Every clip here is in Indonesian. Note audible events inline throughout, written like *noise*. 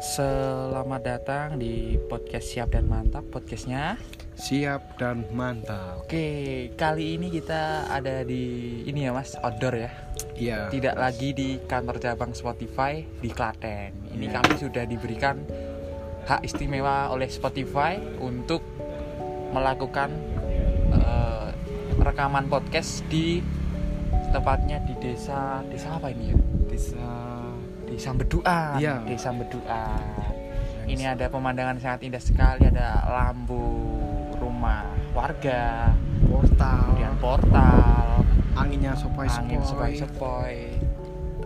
Selamat datang di podcast Siap dan Mantap podcastnya. Siap dan mantap. Oke, kali ini kita ada di ini ya Mas, outdoor ya. Iya. Tidak lagi di kantor cabang Spotify di Klaten. Ini Iya. kami sudah diberikan hak istimewa oleh Spotify untuk melakukan eh, rekaman podcast di tepatnya di desa desa apa ini ya? Desa. Desa Beduan. Iya. Desa Beduan. Ini ada pemandangan sangat indah sekali, ada lampu rumah warga, portal. kemudian portal, Anginnya sopai Iya. angin sepoi-sepoi,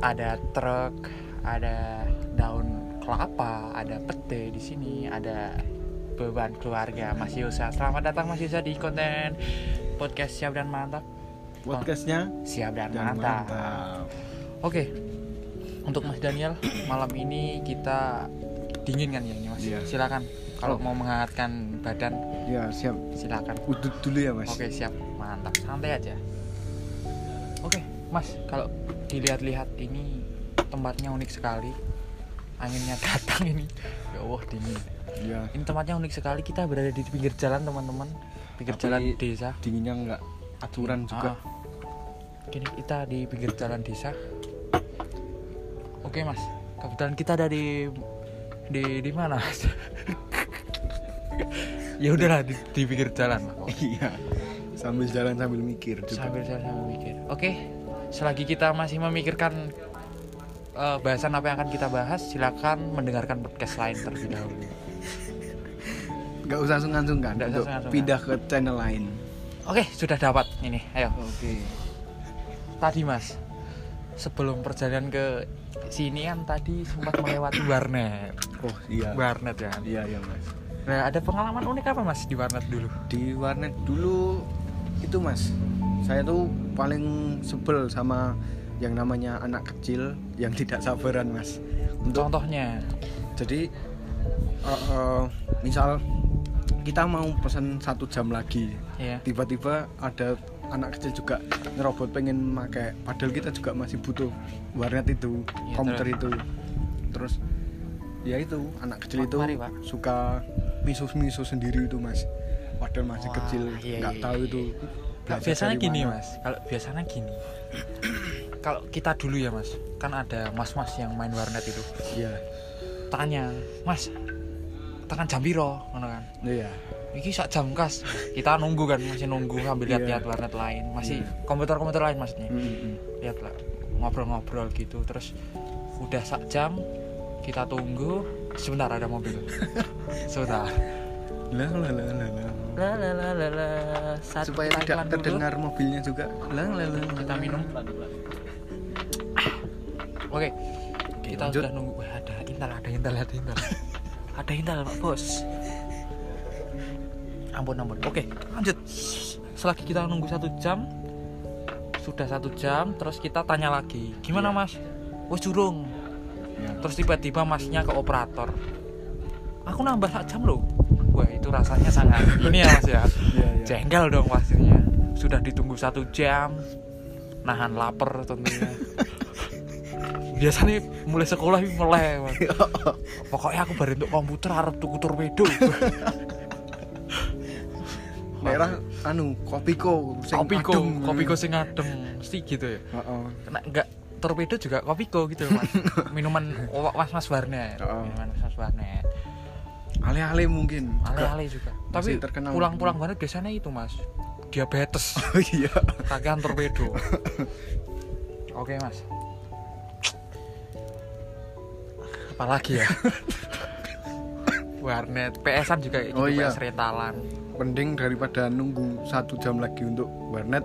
ada truk, ada daun kelapa, ada pete di sini, ada beban keluarga Mas Yusa. Selamat datang Mas Yusa di konten podcast siap dan mantap. Podcastnya. Siap dan, Dan mantap. mantap. Oke. Untuk Mas Daniel, malam ini kita dingin kan ya ini Mas? Iya. Silakan kalau Oh. mau menghangatkan badan Ya siap. silakan Udut dulu ya mas. oke siap mantap santai aja oke mas kalau dilihat-lihat ini tempatnya unik sekali anginnya datang ini ya allah dingin Iya. ini tempatnya unik sekali kita berada di pinggir jalan teman-teman pinggir Tapi jalan desa Dinginnya nggak aturan Ah. juga. Gini, kita di pinggir jalan desa oke mas kebetulan kita ada di di di mana mas *laughs* ya udahlah di, di pinggir jalan lah pokoknya. *laughs* Iya. Sambil jalan sambil mikir juga. sambil sambil mikir. Oke, selagi kita masih memikirkan eh, bahasan apa yang akan kita bahas, silakan mendengarkan podcast lain terlebih dahulu. Nggak usah sungkan-sungkan. Nggak usah untuk sungkan-sungkan. Pindah ke channel lain. Oke, sudah dapat ini. Ayo. Oke. Tadi Mas, sebelum perjalanan ke sini kan tadi sempat melewati warnet. Oh iya. Warnet ya. Iya iya mas. Nah, ada pengalaman unik apa Mas di warnet dulu? di warnet dulu itu mas saya tuh paling sebel sama yang namanya anak kecil yang tidak sabaran mas untuk Contohnya. jadi eh, eh, misal kita mau pesan satu jam lagi Iya. tiba-tiba ada anak kecil juga ngerobot pengen pakai padahal kita juga masih butuh warnet itu Iya, komputer itu terus ya itu anak kecil Pak, itu mari, Pak. suka misus-misus sendiri itu mas padahal masih Wah, kecil iya, nggak iya, tahu iya. itu Nah, belajar biasanya dari gini mana. mas, kalau biasanya gini, kalau kita dulu ya mas, kan ada mas-mas yang main warnet itu, iya tanya mas tekan jam piro ngono kan iya iki sak jam kas kita nunggu kan masih nunggu sambil lihat-lihat Iya. warnet lain masih Iya. komputer-komputer lain maksudnya Mm, mm, mm. lihat lah ngobrol-ngobrol gitu terus udah sak jam kita tunggu sebentar ada *laughs* mobil sebentar lah lah lah lah lah. la la la la la satu supaya kita tidak iklan dulu, terdengar mobilnya juga lah lah lah lah. kita minum oke Oke, kita lanjut. sudah nunggu Wah, ada intel ada intel ada *laughs* intel ada intel pak bos ampun ampun oke lanjut selagi kita nunggu satu jam sudah satu jam terus kita tanya lagi gimana Iya. mas wes jurung Ya. terus tiba-tiba masnya ke operator aku nambah sak jam loh wah itu rasanya sangat ini ya mas ya Iya, iya. jengkel dong pastinya sudah ditunggu satu jam nahan lapar *laughs* tentunya biasanya mulai sekolah ini *laughs* mulai Mas. pokoknya aku baru untuk komputer harap tuku *laughs* torpedo merah anu kopiko sing kopiko adem. kopiko sing adem mesti gitu ya Heeh. kena enggak torpedo juga kopiko gitu *laughs* mas minuman was mas warnet Oh. minuman was mas warnet alih-alih mungkin ale-ale juga tapi Masih terkenal. pulang-pulang warnet biasanya itu mas *laughs* diabetes *laughs* oh iya kagian torpedo oke mas apalagi *laughs* ya warnet PSan juga kayak gitu Oh, iya. PS rentalan mending daripada nunggu satu jam lagi untuk warnet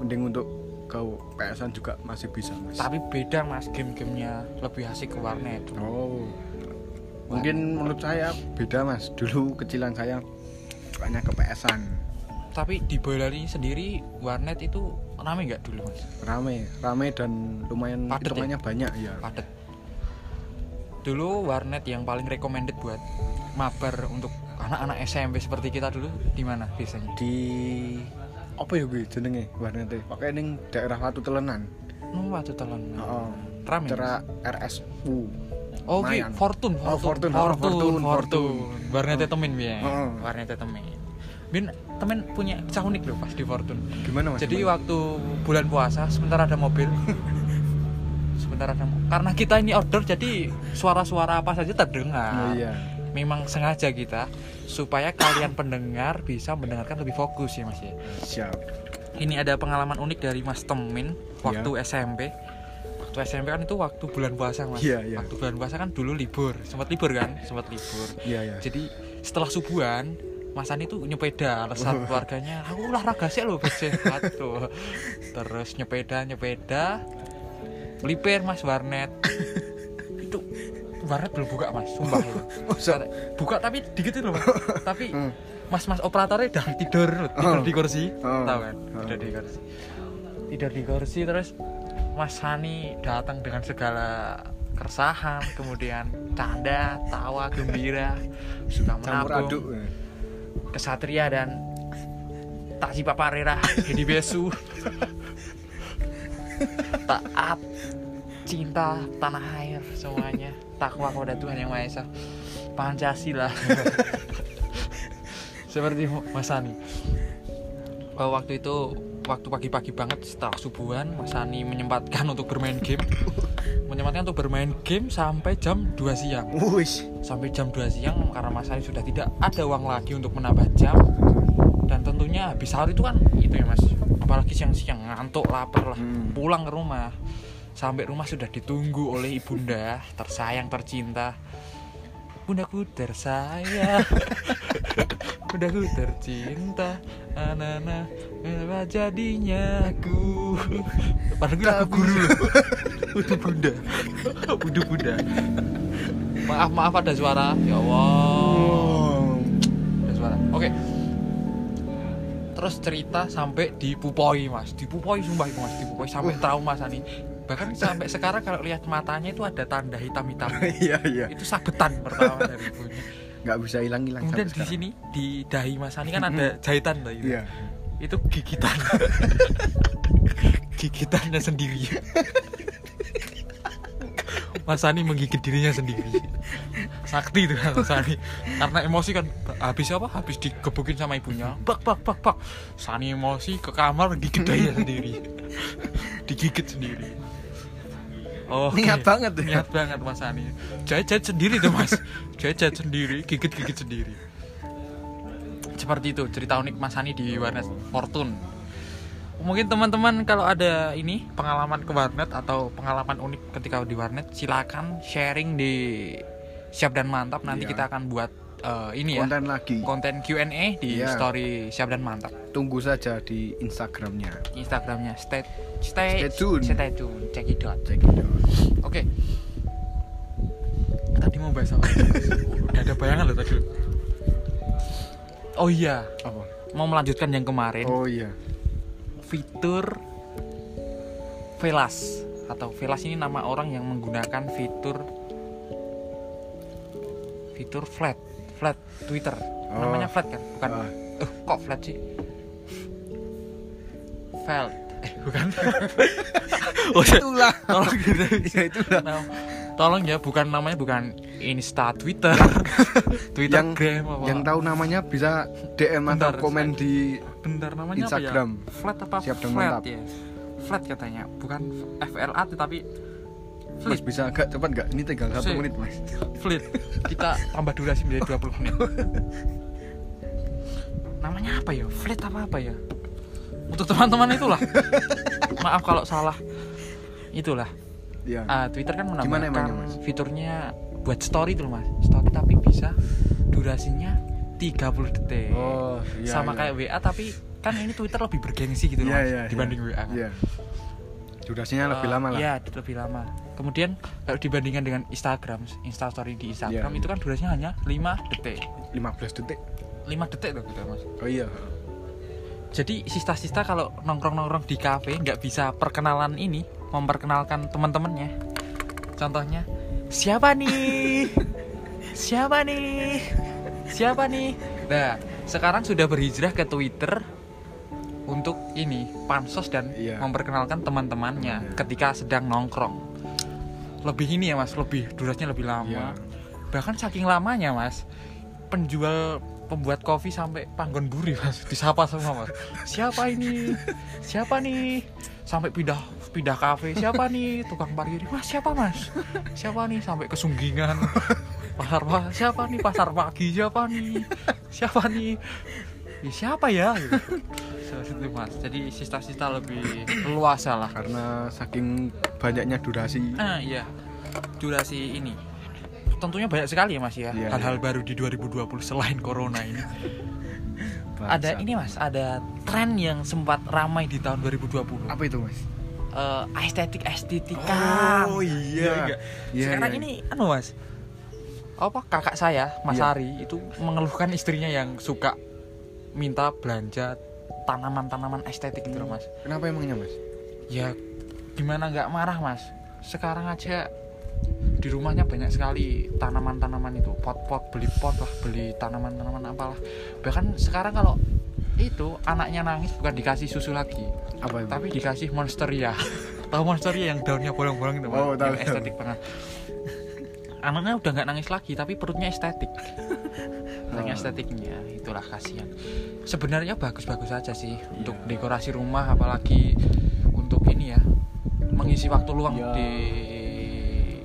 mending untuk ke PSN juga masih bisa mas tapi beda mas game-gamenya lebih asik ke warnet oh mungkin menurut saya beda mas dulu kecilan saya sukanya ke PSN tapi di Boyolali sendiri warnet itu rame nggak dulu mas rame rame dan lumayan Padet ya? hitungannya banyak ya padat dulu warnet yang paling recommended buat mabar untuk anak-anak SMP seperti kita dulu di mana biasanya di apa ya gue jenenge warnetnya pakai ning daerah Watu Telenan Nung waktu telon oh, rame Mas? Cera RSU Oh, oke, Lumayan. Fortune, Oh, Fortune, Fortune, oh, Fortune, Fortune, Fortune. Warnetnya Oh. temen Bin. Oh. Warnetnya temen. Bin, temen punya kisah unik loh pas di Fortune. Gimana mas? Jadi Gimana? waktu bulan puasa sebentar ada mobil. *laughs* sebentar ada mo- Karena kita ini outdoor jadi suara-suara apa saja Oh, terdengar. iya. Memang sengaja kita supaya kalian pendengar bisa mendengarkan lebih fokus ya Mas ya. Siap. Ini ada pengalaman unik dari Mas Temin waktu SMP. Waktu SMP kan itu waktu bulan puasa Mas. Iya, iya. Waktu bulan puasa kan dulu libur, sempat libur kan? Sempat libur. Iya ya. Jadi setelah subuhan Mas Ani tuh nyepeda alasan keluarganya aku olahraga sih loh bos sehat tuh terus nyepeda nyepeda melipir mas *laughs* warnet itu warnet belum buka mas sumpah loh. Oh, Masa? buka tapi dikit *laughs* loh mas tapi Hmm. mas mas operatornya udah tidur loh, tidur Oh. di kursi Oh. tahu kan Oh. tidur di kursi tidur di kursi terus Mas Hani datang dengan segala keresahan kemudian canda tawa gembira sudah Campur aduk. menabung kesatria dan tak si paparera jadi besu taat cinta tanah air semuanya takwa kepada Tuhan yang Maha Esa Pancasila seperti Mas Ani Eh, waktu itu waktu pagi-pagi banget setelah subuhan Mas Ani menyempatkan untuk bermain game menyempatkan untuk bermain game sampai jam 2 siang Wush. sampai jam 2 siang karena Mas Ari sudah tidak ada uang lagi untuk menambah jam dan tentunya habis sahur itu kan itu ya Mas apalagi siang-siang ngantuk lapar lah Hmm. pulang ke rumah sampai rumah sudah ditunggu oleh ibunda tersayang tercinta bundaku *laughs* tersayang bundaku tercinta Anana apa jadinya aku Padahal gue lagu guru loh Udah bunda Udah bunda Maaf maaf ada suara Ya Allah Oh. Ada suara Oke Terus cerita sampai dipupoi mas Dipupoi sumpah itu mas Dipupoi sampai trauma Sani Bahkan sampai sekarang kalau lihat matanya itu ada tanda hitam-hitam *laughs* Iya iya. Itu sabetan pertama *laughs* dari ibunya Nggak bisa hilang hilang. Kemudian di sini di dahi Mas Sani kan ada jahitan tuh itu. Iya. Itu gigitan. *laughs* Gigitannya sendiri. Mas Sani menggigit dirinya sendiri. Sakti itu kan Mas Sani. Karena emosi kan habis apa? Habis digebukin sama ibunya. Bak bak bak bak. Sani emosi ke kamar gigit dahinya sendiri. Digigit sendiri. Oh, Niat banget ya. niat banget Mas Ani. Jajat sendiri tuh Mas. Jajat sendiri, gigit-gigit sendiri. Seperti itu cerita unik Mas Ani di warnet Fortune. Mungkin teman-teman kalau ada ini pengalaman ke warnet atau pengalaman unik ketika di warnet silakan sharing di Siap dan Mantap nanti Iya. kita akan buat eh, ini ya Konten lagi. konten Q&A di Iya. story Siap dan Mantap Tunggu saja di Instagramnya. Instagramnya stay stay Stay tune. stay tune cekidot Check it out. Oke. Tadi mau bahas apa? *laughs* Udah ada bayangan loh tadi. Oh iya, Apa? mau melanjutkan yang kemarin Oh iya. fitur Velas atau Velas ini nama orang yang menggunakan fitur fitur flat flat Twitter Oh. namanya flat kan bukan Ah. eh, kok flat sih felt eh *laughs* bukan oh, Itulah. tolong ya itulah. Nah, tolong ya bukan namanya bukan Insta *laughs* Twitter Twitter Yang Gram apa *laughs* yang tahu namanya bisa DM atau Bentar, komen di bentar namanya Instagram. apa ya flat apa Siap dan flat mantap. ya flat katanya bukan FLA tapi Mas flit bisa agak cepat nggak? Ini tinggal Sip. satu menit mas. flit kita tambah durasi menjadi 20 menit namanya apa ya flat apa apa ya untuk teman-teman *laughs* itulah maaf kalau salah itulah Iya. Ah, Twitter kan Gimana menambahkan emangnya, Mas? fiturnya buat story tuh mas story tapi bisa durasinya 30 detik Oh, iya, sama iya. kayak WA tapi kan ini Twitter lebih bergengsi gitu loh Iya mas iya. dibanding iya. WA kan. Iya. Durasinya lebih Eh, lama lah. iya lebih lama kemudian kalau dibandingkan dengan Instagram Instastory di Instagram Iya. itu kan durasinya hanya 5 detik 15 detik. 5 detik loh gitu mas Oh iya. jadi sista-sista kalau nongkrong-nongkrong di kafe nggak bisa perkenalan ini memperkenalkan teman-temannya contohnya siapa nih siapa nih siapa nih nah sekarang sudah berhijrah ke Twitter untuk ini pansos dan Iya. memperkenalkan teman-temannya Iya. ketika sedang nongkrong lebih ini ya mas lebih durasinya lebih lama Iya. bahkan saking lamanya mas penjual pembuat kopi sampai panggon buri mas disapa semua mas siapa ini siapa nih sampai pindah pindah kafe siapa nih tukang parkir mas siapa mas siapa nih sampai kesunggingan pasar pa- siapa nih pasar pagi siapa nih siapa nih Ya, siapa ya gitu. Seperti itu mas jadi sista-sista lebih luasa lah karena saking banyaknya durasi Ah iya. Durasi ini. Tentunya banyak sekali ya Mas ya. Iya, Nah, Hal-hal baru di 2020 selain corona ini. ada Bangsat. ini Mas, ada tren yang sempat ramai di tahun 2020. apa itu mas Eh, estetik estetika. Oh, iya. nggak? Iya, Sekarang iya. ini anu Mas. Apa kakak saya Mas Iya. Ari itu mengeluhkan istrinya yang suka minta belanja tanaman-tanaman estetik gitu loh Mas. kenapa emangnya mas ya gimana nggak marah mas sekarang aja di rumahnya banyak sekali tanaman-tanaman itu pot-pot beli pot lah beli tanaman-tanaman apalah bahkan sekarang kalau itu anaknya nangis bukan dikasih susu lagi apa itu tapi dikasih *laughs* monsteria tahu monsteria yang daunnya bolong-bolong itu Mas? Oh, tahu, Yang tahu. estetik banget anaknya udah nggak nangis lagi tapi perutnya *laughs* estetik hanya Oh. estetiknya itulah kasihan sebenarnya bagus-bagus aja sih Iya. untuk dekorasi rumah apalagi untuk ini ya mengisi waktu luang Iya. di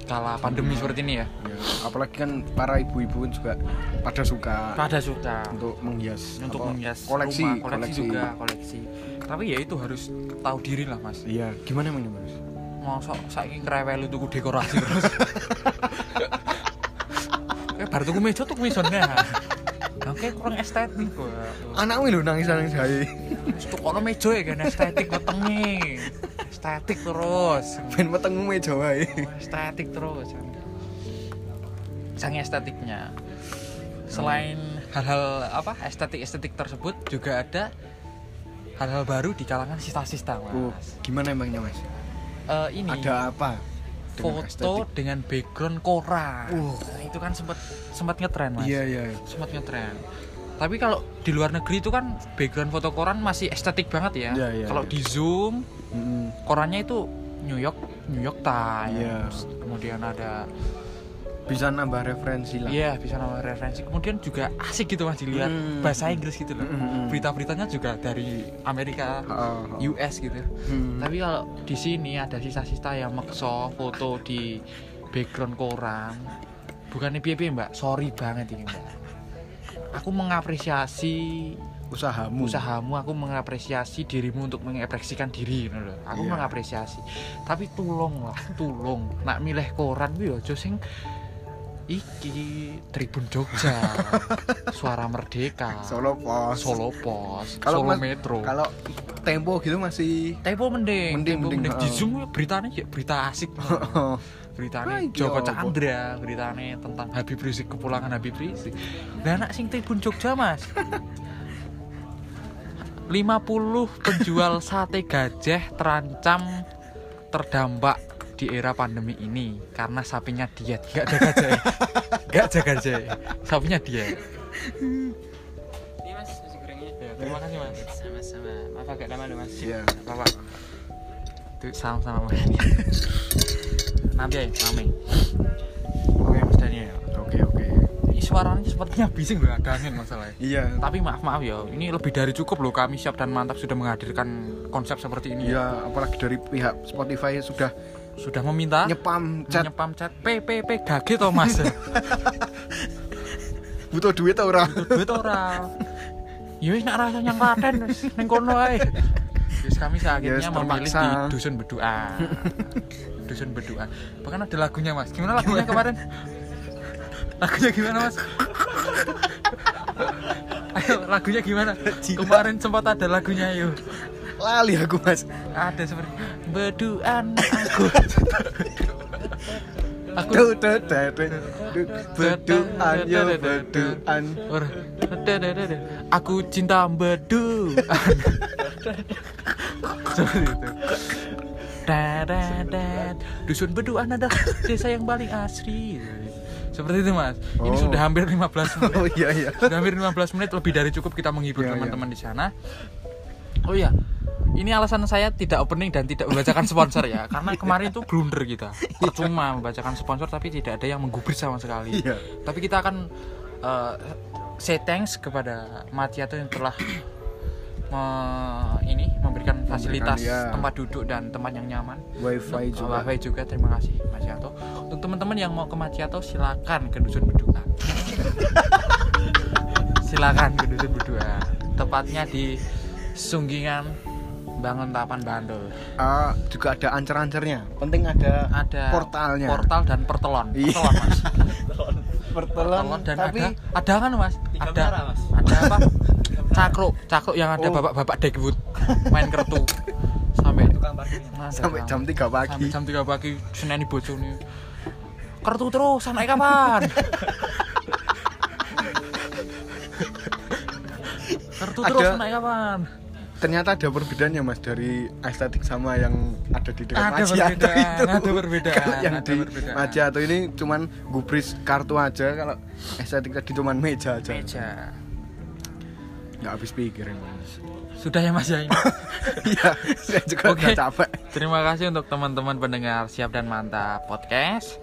kala pandemi seperti ini ya Ya, apalagi kan para ibu-ibu juga pada suka pada suka Nah, untuk menghias untuk apa, menghias koleksi rumah, koleksi, juga koleksi tapi ya itu harus tahu diri lah mas iya gimana emangnya mas mosok saiki ngrewel tuku dekorasi terus. Kayak bar tuku meja tuku mesone. Oke, kurang estetik kok. anakmu lho nangis nangis hari Terus tukono meja ya kan estetik wetenge. Estetik terus. *laughs* ben ya, wetengmu meja wae Estetik terus. Sange estetiknya. Selain hal-hal apa estetik-estetik tersebut juga ada hal-hal baru di kalangan sista-sista, Oh, Mas. gimana emangnya mas Eh, ini ada apa foto dengan estetik? dengan background Korea. Uh. Nah, itu kan sempat sempat ngetren mas. iya iya Sempat ngetren. Tapi kalau di luar negeri itu kan background foto koran masih estetik banget ya. Iya, iya, kalau iya. di zoom Mm-mm. korannya itu New York New York Times. Iya. Kemudian ada bisa nambah referensi lah iya bisa nama referensi. Kemudian juga asik gitu mas dilihat Hmm. bahasa Inggris gitu loh. Hmm, hmm, hmm. Berita-beritanya juga dari Amerika. Oh, oh. US gitu. Hmm. Tapi kalau di sini ada sisa-sisa yang makso foto di background koran. Bukannya piye-piye, Mbak. Sorry banget ini, Mbak. Aku mengapresiasi usahamu usahamu, aku mengapresiasi dirimu untuk mengekspresikan diri ngono lho. Aku Iya. mengapresiasi. Tapi tolong lah, tolong. Nak milih koran kuwi aja sing iki Tribun *laughs* Jogja. Suara Merdeka. Solo Pos Solo Pos. Kalau Solo Mas- Metro. kalau Tempo gitu masih Tempo mending, Mending, Tempo mending, mending. Di heeh. Zoom ya beritanya ya berita asik. Ah, beritanya iya, Joko apa? Chandra, beritanya tentang Habib Rizik kepulangan Habib Rizik. Lah anak sing Tribun Jogja, *laughs* Mas. 50 penjual sate gajah terancam terdampak di era pandemi ini karena sapinya diet nggak jaga *laughs* gajah nggak jaga gajah sapinya diet Iya, Ini mas, nasi gorengnya terima kasih mas Sama-sama Maaf agak lama loh mas Iya. Gak apa-apa itu salam sama mas ya, Nanti aja, rame oke mas Daniel oke oke ini suaranya sepertinya bising loh ada angin masalahnya iya tapi maaf maaf ya ini lebih dari cukup loh kami siap dan mantap sudah menghadirkan konsep seperti ini ya iya apalagi dari pihak Spotify sudah sudah meminta nyepam chat menyepam chat PPP gage to *laughs* mas butuh duit tau ora duit ora ya wis nak rasa yang klaten wis ning kono ae Terus kami Yes, seakhirnya memilih Ya terpaksa. di dusun berdoa dusun berdoa bahkan ada lagunya mas gimana lagunya kemarin lagunya gimana mas ayo lagunya gimana kemarin sempat ada lagunya yuk lali aku mas ada seperti beduan *laughs* aku aku Duh, duh, duh, duh, duh. Beduan yo beduan Or- aku cinta *laughs* bedu seperti itu Dadadad. dusun beduan adalah desa yang paling asri seperti itu mas ini Oh. sudah hampir 15 menit *laughs* oh iya iya sudah hampir 15 menit lebih dari cukup kita menghibur Iya, iya. teman-teman di sana Oh iya, ini alasan saya tidak opening dan tidak membacakan sponsor ya, karena kemarin itu blunder kita. Percuma membacakan sponsor tapi tidak ada yang menggubris sama sekali. Iya. Tapi kita akan eh, say thanks kepada Matiato yang telah me- ini memberikan fasilitas dia. tempat duduk dan tempat yang nyaman. wifi Untuk juga Huawei juga terima kasih Mas Yato. Untuk teman-teman yang mau ke Mas Yato silakan ke dusun Bedua. *laughs* silakan ke dusun Bedua. Tepatnya di Sunggingan Bangun Tapan Bandel. Ah, juga ada ancer-ancernya penting ada Ada portalnya Portal dan pertelon. Iya. Pertelon, Mas. *laughs* portalan Pertelon dan tapi ada ada kan, Mas? Tiga ada menara, Mas. ada *laughs* apa? Cakruk, cakruk yang ada Oh. bapak-bapak Dagwood main kertu sampai tukang parkirnya Ada sampai kamu. jam 3 pagi Sampai jam 3 pagi seneni bojone. Kertu terus, naik kapan? *laughs* Kertu terus, Ada- naik kapan? ternyata ada perbedaannya mas dari estetik sama yang ada di dekat Ada Majiato perbedaan, itu ada perbedaan, Kalau yang ada di perbedaan. Majiato ini cuman gubris kartu aja kalau estetik tadi cuman meja aja Meja. nggak habis *laughs* pikir emang Sudah ya Mas *laughs* ya ini. iya saya juga Oke. udah capek Terima kasih untuk teman-teman pendengar Siap dan Mantap Podcast.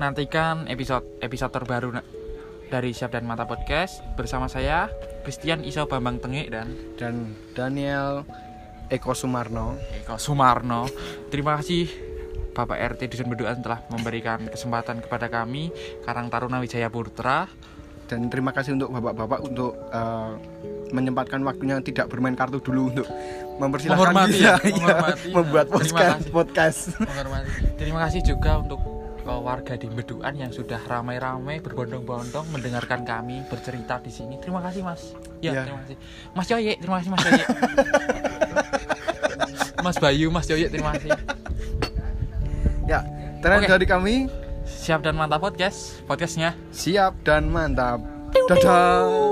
Nantikan episode episode terbaru na- dari Siap dan Mantap Podcast bersama saya Christian Isau Bambang Tengik dan dan Daniel Eko Sumarno Eko Sumarno. Terima kasih Bapak RT Dusun Beduan telah memberikan kesempatan kepada kami Karang Taruna Wijaya Putra. dan terima kasih untuk bapak-bapak untuk eh, menyempatkan waktunya tidak bermain kartu dulu untuk mempersilahkan Menghormati kita, ya, menghormati. *laughs* iya, membuat Terima podcast kasih. podcast Terima kasih juga untuk uh, warga di Beduan yang sudah ramai-ramai berbondong-bondong mendengarkan kami bercerita di sini. Terima kasih Mas. Ya, Ya. terima kasih. Mas Yoye, terima kasih Mas Yoye. Mas Bayu, Mas Yoye, terima kasih. ya terakhir Oke. dari kami Siap dan mantap podcast, podcastnya. siap dan mantap dadah